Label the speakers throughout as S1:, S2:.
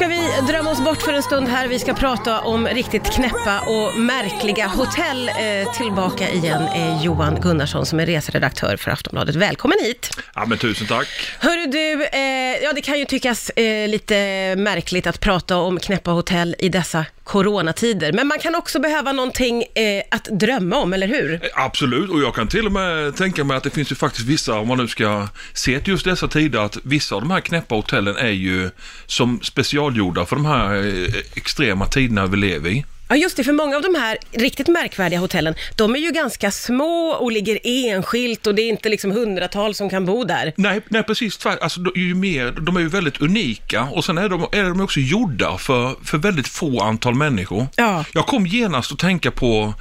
S1: vi drömma oss bort för en stund här. Vi ska prata om riktigt knäppa och märkliga hotell. Eh, tillbaka igen är Johan Gunnarsson som är reseredaktör för Aftonbladet. Välkommen hit!
S2: Ja, men tusen tack.
S1: Hörru du, eh, ja det kan ju tyckas eh, lite märkligt att prata om knäppa hotell i dessa coronatider, men man kan också behöva någonting eh, att drömma om, eller hur?
S2: Eh, Absolut, och jag kan till och med tänka mig att det finns ju faktiskt vissa, om man nu ska se till just dessa tider, att vissa av de här knäppa hotellen är ju som specialgjorda för de här eh, extrema tiderna vi lever i.
S1: Ja just det, för många av de här riktigt märkvärdiga hotellen, de är ju ganska små och ligger enskilt och det är inte liksom hundratal som kan bo där.
S2: Nej, nej precis tvärt. Alltså, de- ju mer, de är ju väldigt unika och sen är de, är de också gjorda för, för väldigt få antal människor.
S1: Ja.
S2: Jag kom genast att tänka på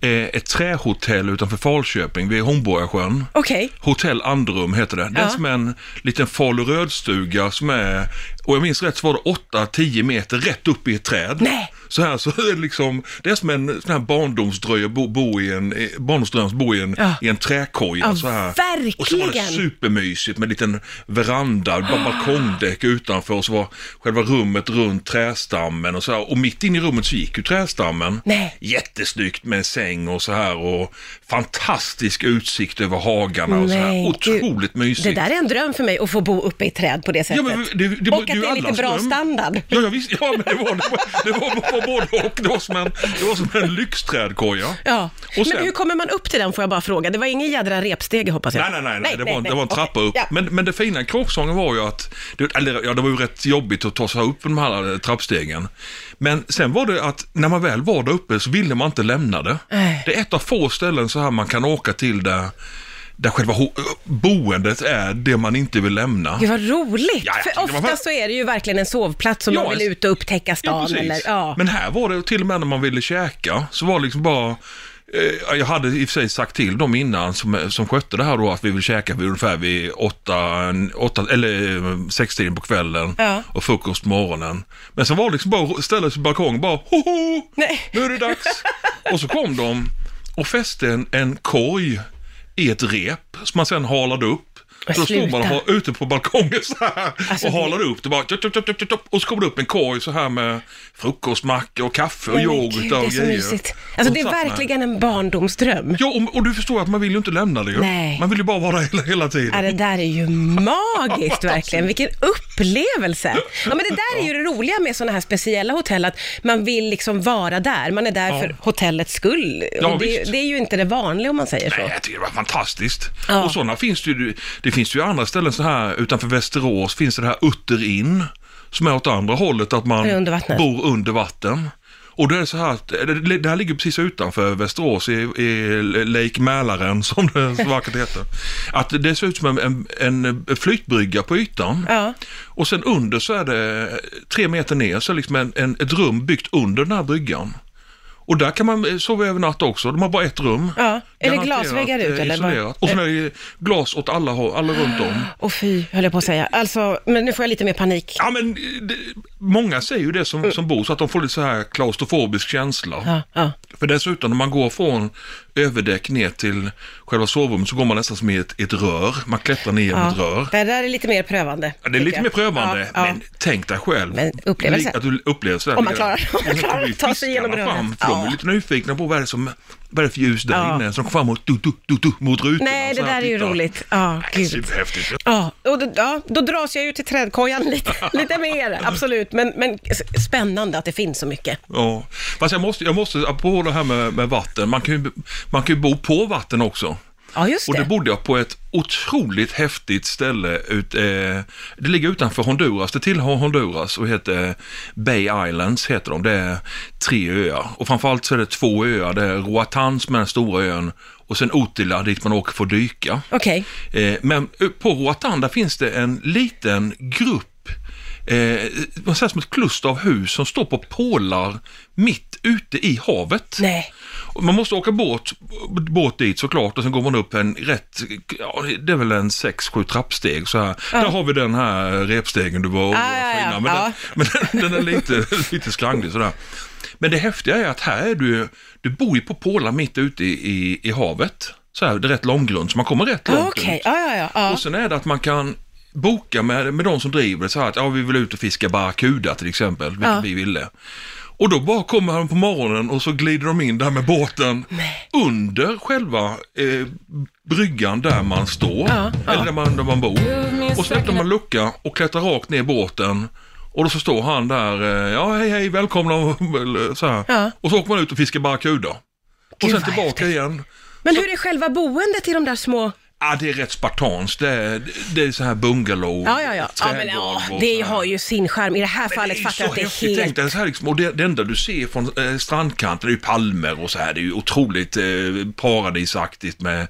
S2: eh, ett trähotell utanför Falköping vid Hornborgasjön.
S1: Okej.
S2: Hotell Andrum heter det. Det är
S1: Ja.
S2: som en liten falurödstuga som är, och jag minns rätt så var det 8-10 meter rätt upp i ett träd.
S1: Nej.
S2: Så här så är det liksom, det är som en sån här barndomsdröj att bo, bo i en, eh, barndomsdröm att bo i en,
S1: Ja.
S2: i en träkoja
S1: Ja,
S2: så här. Och så var det
S1: verkligen. Ah.
S2: supermysigt med en liten veranda, ba- balkongdäck utanför och så var själva rummet runt trästammen och så här. Och mitt inne i rummet så gick ju trästammen.
S1: Nej.
S2: Jättesnyggt med en säng och så här och fantastisk utsikt över hagarna och så här.
S1: Nej, gud.
S2: Otroligt mysigt.
S1: Det där är en dröm för mig, att få bo uppe i ett träd på det sättet.
S2: Ja, men det- det- det-
S1: och att
S2: det är
S1: det
S2: ju
S1: är lite
S2: allas
S1: bra
S2: dröm.
S1: standard.
S2: Ja, jag visste, ja men det var, det var, det var, det var både och. Det var som en, det var som en lyxträdkoja.
S1: Ja.
S2: Och sen,
S1: Men hur kommer man upp till den får jag bara fråga? Det var ingen jädra repstege hoppas jag.
S2: Nej, nej, nej, nej. Det, var, det var en
S1: okej.
S2: trappa upp.
S1: Ja.
S2: Men, men det fina i kråksången var ju att, det, eller ja, det var ju rätt jobbigt att ta sig upp de här eh, trappstegen. Men sen var det att när man väl var där uppe så ville man inte lämna det.
S1: Nej.
S2: Det är ett av få ställen så här man kan åka till där, där själva ho- eh, boendet är det man inte vill lämna.
S1: Gud vad roligt!
S2: Ja, jag
S1: för
S2: tyckte det var
S1: ofta
S2: fett.
S1: så är det ju verkligen en sovplats om
S2: Ja,
S1: man vill
S2: en-
S1: ut och upptäcka stan.
S2: precis.
S1: eller, ja.
S2: Men här var det till och med när man ville käka så var det liksom bara eh, jag hade i och för sig sagt till dem innan som, som skötte det här då att vi vill käka vid ungefär vid åtta, åtta eller eh, sextiden på kvällen
S1: Ja.
S2: och frukost på morgonen. Men sen var det liksom bara att ställa sig på balkongen bara hoho,
S1: Nej.
S2: nu är det dags. och så kom de och fäste en, en korg i ett rep som man sen halade upp.
S1: Men
S2: Så stod man
S1: sluta.
S2: och ha- ute på balkongen så här
S1: Alltså,
S2: och
S1: det-
S2: halade upp det bara. Tjopp, tjopp, tjopp, tjopp, tjopp, och så kom det upp en korg så här med frukostmacka och kaffe och
S1: Nej, men
S2: yoghurt
S1: gud, det
S2: och
S1: är så
S2: grejer.
S1: mysigt. Alltså
S2: Och
S1: det är
S2: satt man-
S1: verkligen en barndomsdröm.
S2: Ja, och, och du förstår att man vill ju inte lämna det ju.
S1: Nej.
S2: Man vill ju bara vara där hela, hela
S1: Ja,
S2: tiden.
S1: det där är ju magiskt verkligen. Vilken upplevelse. Ja, men det där är ju det roliga med sådana här speciella hotell, att man vill liksom vara där. Man är där
S2: Ja.
S1: för hotellets skull.
S2: Ja,
S1: och det,
S2: visst.
S1: det är ju inte det vanliga om man säger så.
S2: Nej, jag tycker det var fantastiskt.
S1: Ja.
S2: Och sådana finns det ju. Det finns ju andra ställen så här utanför Västerås finns det det här Utter in som är åt andra hållet att man
S1: Ja, under vattnet.
S2: bor under vatten. Och det är det så här, att- det- det här ligger precis utanför Västerås i, i Lake Mälaren som det så vackert heter. Att det ser ut som en, en, en flytbrygga på ytan.
S1: Ja.
S2: Och sen under så är det tre meter ner så är det liksom en, en, ett rum byggt under den här bryggan. Och där kan man eh, sova över natt också. De har bara ett rum.
S1: Ja. Är det
S2: Garanterat,
S1: glasväggar ut,
S2: eh,
S1: eller vad?
S2: isolerat. Och sen är det glas åt alla, hå- alla runt om.
S1: Och fy, höll jag på att säga. Alltså, men nu får jag lite mer panik.
S2: Ja men eh, det, många säger ju det som, som bor så att de får lite så här klaustrofobisk känsla.
S1: Mm. Ja, ja.
S2: För dessutom när man går från överdäck ner till själva sovrummet så går man nästan som i ett, ett rör. Man klättrar ner genom ett rör.
S1: ja. Det där är lite mer prövande.
S2: Ja, det är lite
S1: tycker
S2: mer
S1: jag.
S2: prövande,
S1: Ja, ja.
S2: men tänk dig själv.
S1: Men upplevelse.
S2: Lik- Att du upplever sådär.
S1: Om man klarar- om man
S2: Och sen
S1: klarar
S2: kommer ju
S1: att ta sig igenom
S2: fiskarna
S1: rummet.
S2: fram, för De
S1: Ja.
S2: är lite nyfikna på vad är det som, vad är det för ljus där
S1: Ja.
S2: inne som kommer fram och du, du, du, du, mot rutorna.
S1: Nej, det
S2: så Typ här,
S1: där är ju
S2: titta.
S1: roligt. Ja,
S2: Det är
S1: gud.
S2: Superhäftigt.
S1: Ja, och då, ja, då dras jag ju till trädkojan lite, lite mer, absolut. Men, men s- spännande att det finns så mycket.
S2: Ja. Fast jag måste, jag måste, på det här med, med vatten, man kan, ju, man kan ju bo på vatten också.
S1: Ja, just
S2: Och
S1: det.
S2: det bodde jag på ett otroligt häftigt ställe. Ut, eh, det ligger utanför Honduras, det tillhör Honduras och heter Bay Islands. heter de. Det är tre öar och framförallt så är det två öar. Det är Roatan som är den stora ön och sen Otila dit man åker för att dyka.
S1: Okej.
S2: Eh, men eh, på Roatan där finns det en liten grupp, eh, vad säger, som ett kluster av hus som står på pålar mitt ute i havet.
S1: Nej.
S2: Och Man måste åka båt, båt dit såklart och sen går man upp en rätt, ja, det är väl en sex sju trappsteg så här. Där har vi den här repstegen du var orolig
S1: Ah, Ja, ja,
S2: för
S1: ja.
S2: innan. Men,
S1: Ja.
S2: den, men den, den är lite, lite skranglig sådär. Men det häftiga är att här är du, du bor ju på pålar mitt ute i, i, i havet. Så här, det är rätt långgrund, så man kommer rätt långt
S1: Ah, Okej,
S2: ut.
S1: ja, ja, ja. ja.
S2: Och sen är det att man kan boka med, med de som driver det så här att ja, vi vill ut och fiska barracuda till exempel, vilket
S1: Ja.
S2: vi ville. Och då bara kommer han på morgonen och så glider de in där med båten under själva eh, bryggan där man står,
S1: Ja, ja.
S2: eller där man, där man bor. Och så öppnar man lucka och klättrar rakt ner i båten. Och då så står han där, eh, ja hej hej välkomna och så här.
S1: Ja.
S2: Och så åker man ut och fiskar barracuda. Och
S1: Gud,
S2: sen
S1: vad
S2: tillbaka
S1: häftigt.
S2: igen.
S1: Men hur är själva boendet i de där små...
S2: Ja, det är rätt spartanskt. Det är, det är så här bungalow,
S1: Ja, ja, ja. ja, men,
S2: trädgård
S1: ja
S2: och så
S1: det
S2: här.
S1: har ju sin charm. I det här
S2: Men det är
S1: fallet
S2: ju
S1: fattar
S2: så
S1: jag att det
S2: häftigt.
S1: är
S2: Tänk
S1: helt...
S2: dig så här liksom, och det, det enda du ser från eh, strandkanten är ju palmer och så här. Det är ju otroligt eh, paradisaktigt med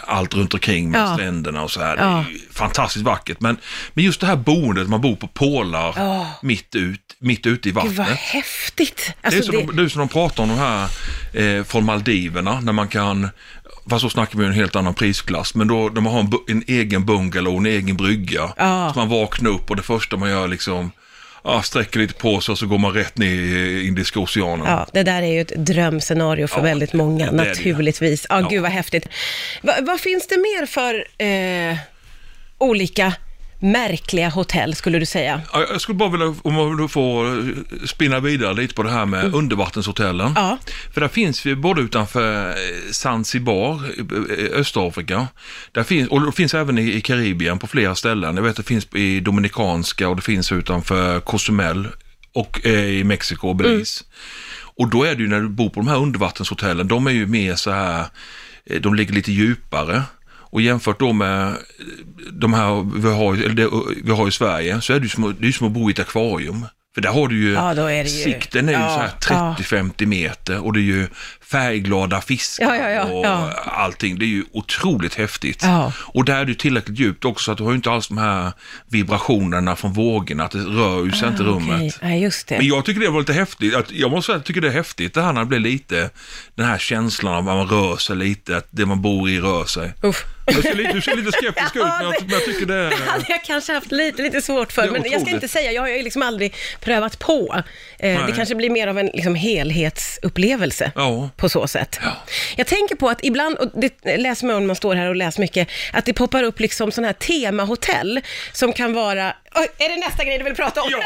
S2: allt runt omkring med
S1: Ja.
S2: stränderna och så här.
S1: Ja.
S2: Det är ju fantastiskt vackert. Men, men just det här boendet, man bor på pålar
S1: Ja.
S2: mitt, ut, mitt ute i
S1: Gud, vad
S2: vattnet.
S1: häftigt!
S2: Det är,
S1: Alltså,
S2: som
S1: det,
S2: De, det är som de pratar om de här eh, från Maldiverna när man kan, fast då snackar vi ju en helt annan prisklass, men då de har en, bu- en egen bungalow, en egen brygga.
S1: Ja.
S2: Så man vaknar upp och det första man gör liksom, ja, sträcker lite på sig och så går man rätt ner i Indiska oceanen.
S1: ja, det där är ju ett drömscenario för
S2: Ja,
S1: väldigt många,
S2: det är det ju.
S1: naturligtvis. Ja,
S2: Ja.
S1: gud vad häftigt. Va, vad finns det mer för eh, olika märkliga hotell, skulle du säga?
S2: Ja, Jag skulle bara vilja, om man då får eh, spinna vidare lite på det här med undervattenshotellen.
S1: Ja.
S2: För där finns vi både utanför eh, Zanzibar, eh, eh, Östafrika, där finns, och det finns även i i Karibien på flera ställen. Jag vet att det finns i Dominikanska och det finns utanför Cozumel och eh, i Mexiko och Belize. Och då är det ju när du bor på de här undervattenshotellen, de är ju mer så här, eh, de ligger lite djupare. Och jämfört då med eh, de här vi har, eller det, eh, vi har i Sverige så är det ju som, att- det är ju som att bo i ett akvarium. För där har du ju,
S1: Ja, då är det ju-
S2: sikten är ju
S1: ja,
S2: så här 30-50 meter och det är ju färgglada fiskar
S1: Ja, ja, ja,
S2: och
S1: ja.
S2: allting. Det är ju otroligt häftigt.
S1: Ja.
S2: Och där är det ju tillräckligt djupt också så att du har ju inte alls de här vibrationerna från vågorna, att det rör ju sig inte rummet.
S1: Ah, Okej, nej, just det.
S2: Men jag tycker det var lite häftigt. Att, jag måste säga att jag tycker det är häftigt det här när det blir lite den här känslan av att man rör sig lite, att det man bor i rör sig.
S1: Uff.
S2: Du ser lite, du ser lite skeptisk ut, men jag, men jag tycker det är...
S1: Det Alltså. hade jag kanske haft lite, lite svårt
S2: Det
S1: för,
S2: är
S1: men jag ska
S2: otroligt.
S1: inte säga, jag har ju liksom aldrig prövat på. Eh, det
S2: Nej.
S1: kanske blir mer av en liksom, helhetsupplevelse.
S2: Ja.
S1: på så sätt. Jag tänker på att ibland, och det läser man om när man står här och läser mycket, att det poppar upp liksom sådana här temahotell som kan vara... Oj, är det nästa grej du vill prata om?
S2: Ja,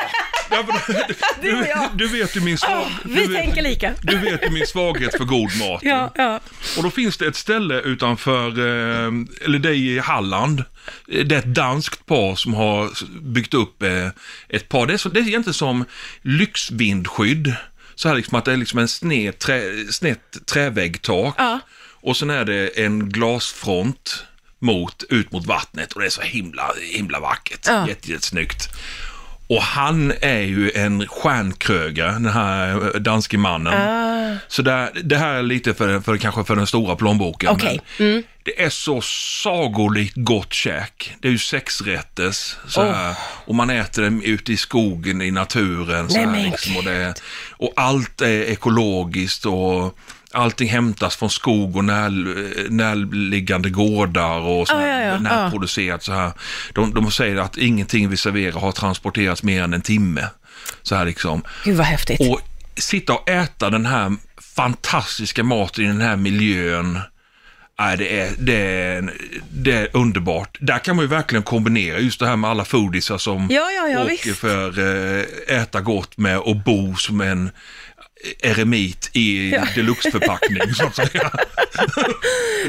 S2: därför-
S1: Du och jag.
S2: du vet ju min svag...
S1: Åh, vi
S2: du vet-
S1: tänker lika.
S2: Du vet ju min svaghet för god mat.
S1: Ja, ja.
S2: Och då finns det ett ställe utanför, eh, eller det är i Halland. Det är ett danskt par som har byggt upp eh, ett par. Det är, så, det är egentligen som lyxvindskydd. Så här liksom att det är liksom en sned trä, snett träväggtak.
S1: Ja.
S2: Och sen är det en glasfront mot, ut mot vattnet och det är så himla, himla vackert.
S1: Ja.
S2: Jätte, jättesnyggt. Och han är ju en stjärnkrögare, den här eh, danske mannen.
S1: Ah.
S2: Så där, det här är lite för, för kanske för den stora plånboken.
S1: Okej, Mm.
S2: men Det är så sagolikt gott käk. Det är ju sexrätters så här, och man äter dem ute i skogen, i naturen. Så
S1: Nej,
S2: här,
S1: men
S2: liksom, och, det, och allt är ekologiskt och allting hämtas från skog och när, närliggande gårdar och så här,
S1: Ja, ja, ja.
S2: när-
S1: Ja.
S2: producerat så här. De, de säger att ingenting vi serverar har transporterats mer än en timme. Så här liksom.
S1: Gud vad häftigt.
S2: Och sitta och äta den här fantastiska maten i den här miljön. Nej, det, är, det, är, det är underbart. Där kan man ju verkligen kombinera just det här med alla foodisar som
S1: Ja, ja, ja,
S2: åker
S1: visst.
S2: för eh, äta gott med och bo som en eh, eremit i deluxeförpackning. så att säga.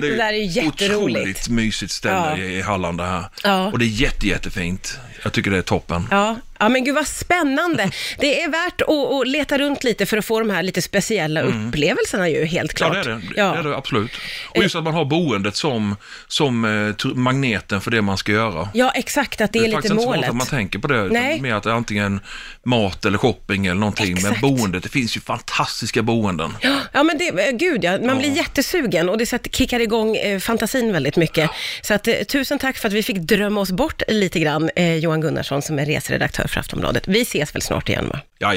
S1: Det där är ju jätteroligt.
S2: Otroligt mysigt ställe
S1: Ja.
S2: i Halland det här.
S1: Ja.
S2: Och det är jätte, jättefint. Jag tycker det är toppen.
S1: Ja, ja, men gud vad spännande. Det är värt att, att leta runt lite för att få de här lite speciella upplevelserna ju, helt
S2: Mm. Ja,
S1: klart.
S2: det är det.
S1: Ja. Eh.
S2: det, är det absolut. Och just att man har boendet som, som eh, tr- magneten för det man ska göra.
S1: Ja, exakt, att det, är lite
S2: faktiskt inte så ofta
S1: målet.
S2: att man tänker på det, utan
S1: Nej.
S2: mer att det är antingen mat eller shopping eller någonting.
S1: Exakt.
S2: Men boendet, det finns ju fantastiska boenden.
S1: Ja men det, eh, gud ja, man blir jättesugen och det så att det kickar igång eh, fantasin väldigt mycket. Så att, eh, tusen tack för att vi fick drömma oss bort lite grann, eh, Johan Gunnarsson som är reseredaktör för Aftonbladet. Vi ses väl snart igen va?